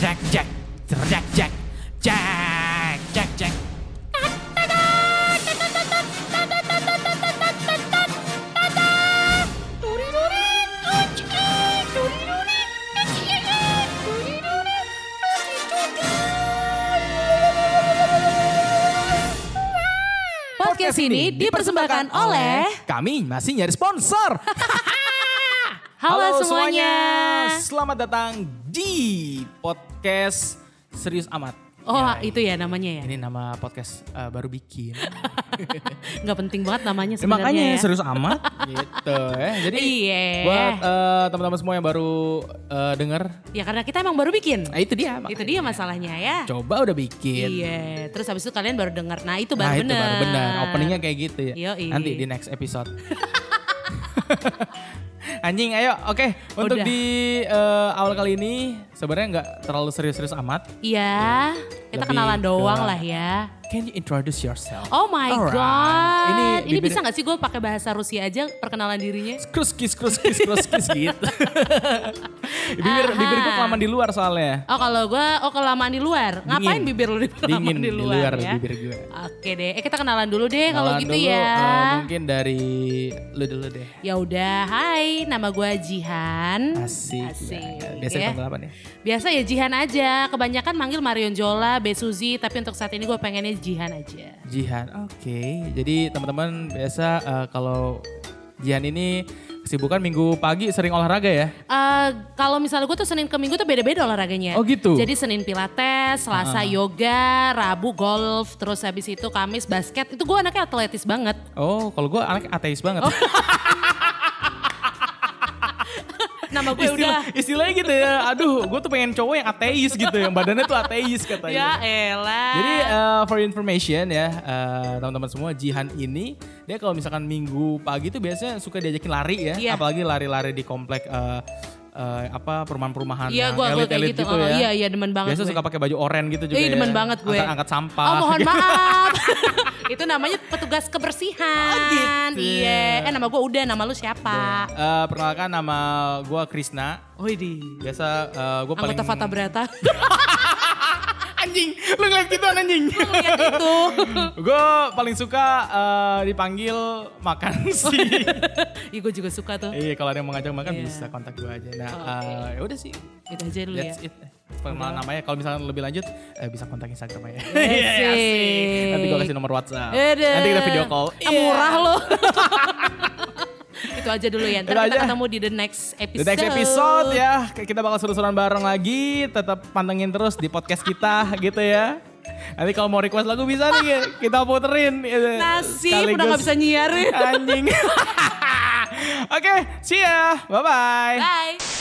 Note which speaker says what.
Speaker 1: Jack, Jack, Jack, Jack, Jack, Jack, Jack.
Speaker 2: Podcast ini dipersembahkan oleh
Speaker 1: Kami masih nyari sponsor.
Speaker 2: Halo, semuanya.
Speaker 1: Selamat datang di podcast Serius Amat.
Speaker 2: Oh
Speaker 1: Ya,
Speaker 2: itu ya namanya ya.
Speaker 1: Ini nama podcast eh, baru bikin.
Speaker 2: Nggak penting banget namanya
Speaker 1: Ya,
Speaker 2: sebenarnya.
Speaker 1: makanya
Speaker 2: ya.
Speaker 1: serius amat gitu ya. Jadi
Speaker 2: Iya.
Speaker 1: buat eh, teman-teman semua yang baru eh, denger,
Speaker 2: Ya karena kita emang baru bikin.
Speaker 1: nah itu dia. makanya.
Speaker 2: Itu dia masalahnya ya.
Speaker 1: Coba udah bikin.
Speaker 2: Iya. Terus habis itu kalian baru dengar. Nah itu
Speaker 1: nah itu
Speaker 2: baru bener.
Speaker 1: baru benar. Openingnya kayak gitu ya.
Speaker 2: Yoi.
Speaker 1: Nanti di next episode. Anjing, ayo, oke. Untuk
Speaker 2: Udah.
Speaker 1: di eh, awal kali ini sebenarnya nggak terlalu serius-serius amat.
Speaker 2: Iya. Kita
Speaker 1: Lebih
Speaker 2: kenalan doang
Speaker 1: ke-
Speaker 2: lah ya.
Speaker 1: Can you introduce yourself?
Speaker 2: Oh my
Speaker 1: Alright.
Speaker 2: god. Ini,
Speaker 1: di
Speaker 2: bisa
Speaker 1: bidang-
Speaker 2: nggak sih gue pakai bahasa Rusia aja perkenalan dirinya?
Speaker 1: Skruskis, skruskis, skruskis gitu. bibir,
Speaker 2: Aha.
Speaker 1: bibir gue kelamaan di luar soalnya.
Speaker 2: Oh kalau gue, oh kelamaan di luar. Ngapain bibir lu di
Speaker 1: dingin
Speaker 2: kelamaan di luar, ya?
Speaker 1: bibir gue.
Speaker 2: Oke deh, eh, kita kenalan dulu deh kalau
Speaker 1: Kenalan
Speaker 2: gitu
Speaker 1: dulu,
Speaker 2: ya.
Speaker 1: eh, mungkin dari lu dulu deh.
Speaker 2: Ya udah, hai, nama gue Jihan.
Speaker 1: Asik.
Speaker 2: Asik,
Speaker 1: Biasa
Speaker 2: ya.
Speaker 1: dipanggil apa nih?
Speaker 2: Biasa ya Jihan aja, kebanyakan manggil Marion Jola, Be Suzy, tapi untuk saat ini gue pengennya Jihan aja.
Speaker 1: Jihan.
Speaker 2: Oh.
Speaker 1: Oke. Jadi teman-teman biasa eh, kalau Jihan ini kesibukan minggu pagi sering olahraga ya.
Speaker 2: Eh kalau misalnya gue tuh Senin ke Minggu tuh beda-beda olahraganya.
Speaker 1: Oh, gitu? Ah.
Speaker 2: Jadi Senin Pilates, Selasa Yoga, Rabu Golf, terus habis itu Kamis Basket. Itu gue anaknya atletis banget.
Speaker 1: Oh, kalau gue anak ateis banget.
Speaker 2: Oh, Nama gue ya udah.
Speaker 1: Istilah, istilahnya gitu ya. Aduh, gue tuh pengen cowok yang ateis gitu, yang badannya tuh ateis katanya.
Speaker 2: Ya elah.
Speaker 1: Jadi eh, for information ya eh, teman-teman semua Jihan ini dia kalau misalkan minggu pagi tuh biasanya suka diajakin lari ya,
Speaker 2: Iya.
Speaker 1: apalagi lari-lari di komplek eh, eh, apa perumahan-perumahan
Speaker 2: Iya
Speaker 1: yang
Speaker 2: gue gue kayak
Speaker 1: elit-elit
Speaker 2: gitu.
Speaker 1: gitu,
Speaker 2: Oh,
Speaker 1: ya.
Speaker 2: Iya iya demen banget
Speaker 1: biasa
Speaker 2: gue.
Speaker 1: suka pakai baju oranye gitu juga.
Speaker 2: Ih, Iya,
Speaker 1: ya.
Speaker 2: demen banget gue.
Speaker 1: Angkat, angkat sampah.
Speaker 2: Oh mohon
Speaker 1: gitu.
Speaker 2: maaf. itu namanya petugas kebersihan.
Speaker 1: Oh, gitu.
Speaker 2: Iya. Eh nama gue udah, nama lu siapa?
Speaker 1: Eh, perkenalkan nama gue Krisna.
Speaker 2: Oh ini.
Speaker 1: Biasa gue paling Ah,
Speaker 2: Anggota Fata Brata.
Speaker 1: anjing. Lu ngeliat gitu anjing.
Speaker 2: Lihat itu.
Speaker 1: gue paling suka eh, dipanggil makan sih.
Speaker 2: Iya gue juga suka tuh.
Speaker 1: Iya kalau ada yang mau ngajak makan
Speaker 2: Iya.
Speaker 1: bisa kontak gue aja. Nah,
Speaker 2: Oke.
Speaker 1: eh, ya udah sih.
Speaker 2: Itu aja dulu ya.
Speaker 1: That's it. Perkenalan namanya kalau misalnya lebih lanjut eh, bisa kontak Instagram aja.
Speaker 2: Iya,
Speaker 1: Iya,
Speaker 2: sih.
Speaker 1: asik. Nanti gue kasih nomor WhatsApp.
Speaker 2: Ede.
Speaker 1: Nanti kita video call.
Speaker 2: Eh,
Speaker 1: Iya.
Speaker 2: Ah, murah lo. itu aja dulu ya. Ntar
Speaker 1: Itu
Speaker 2: kita
Speaker 1: aja.
Speaker 2: ketemu di the next
Speaker 1: The
Speaker 2: episode.
Speaker 1: next episode ya kita bakal seru-seruan bareng lagi. Tetap pantengin terus di podcast kita gitu ya. Nanti kalau mau request lagu bisa nih kita puterin. eh,
Speaker 2: Nasib udah
Speaker 1: sekaligus.
Speaker 2: gak bisa nyiarin.
Speaker 1: Anjing. Oke, see ya. Bye-bye.
Speaker 2: Bye.